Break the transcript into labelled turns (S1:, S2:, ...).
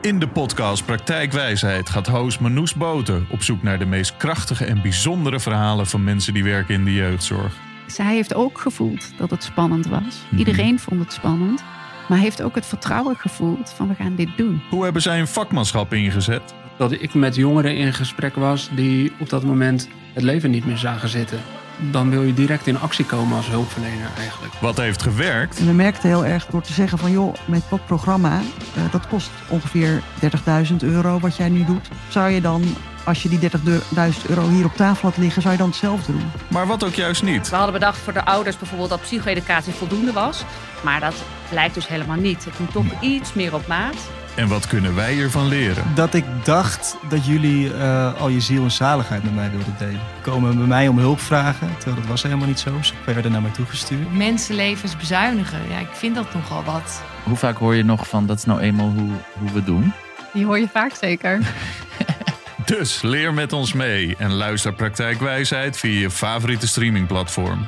S1: In de podcast Praktijkwijsheid gaat host Manous Boter op zoek naar de meest krachtige en bijzondere verhalen van mensen die werken in de jeugdzorg.
S2: Zij heeft ook gevoeld dat het spannend was. Iedereen vond het spannend. Maar heeft ook het vertrouwen gevoeld van we gaan dit doen.
S1: Hoe hebben zij hun vakmanschap ingezet?
S3: dat ik met jongeren in gesprek was die op dat moment het leven niet meer zagen zitten. Dan wil je direct in actie komen als hulpverlener eigenlijk.
S1: Wat heeft gewerkt?
S4: En we merkten heel erg door te zeggen van joh, met dat programma, eh, dat kost ongeveer 30.000 euro wat jij nu doet. Zou je dan, als je die 30.000 euro hier op tafel had liggen, zou je dan hetzelfde doen?
S1: Maar wat ook juist niet.
S5: We hadden bedacht voor de ouders bijvoorbeeld dat psycho-educatie voldoende was. Maar dat blijkt dus helemaal niet. Het moet toch iets meer op maat.
S1: En wat kunnen wij ervan leren?
S6: dat ik dacht dat jullie eh, al je ziel en zaligheid met mij wilden delen. Komen bij mij om hulp vragen, terwijl dat was helemaal niet zo. Ze werden naar mij toegestuurd.
S7: mensenlevens bezuinigen. Ja, ik vind dat nogal wat.
S8: Hoe vaak hoor je nog van dat is nou eenmaal hoe, hoe we doen?
S2: Die hoor je vaak zeker.
S1: Dus leer met ons mee en luister Praktijkwijsheid via je favoriete streamingplatform.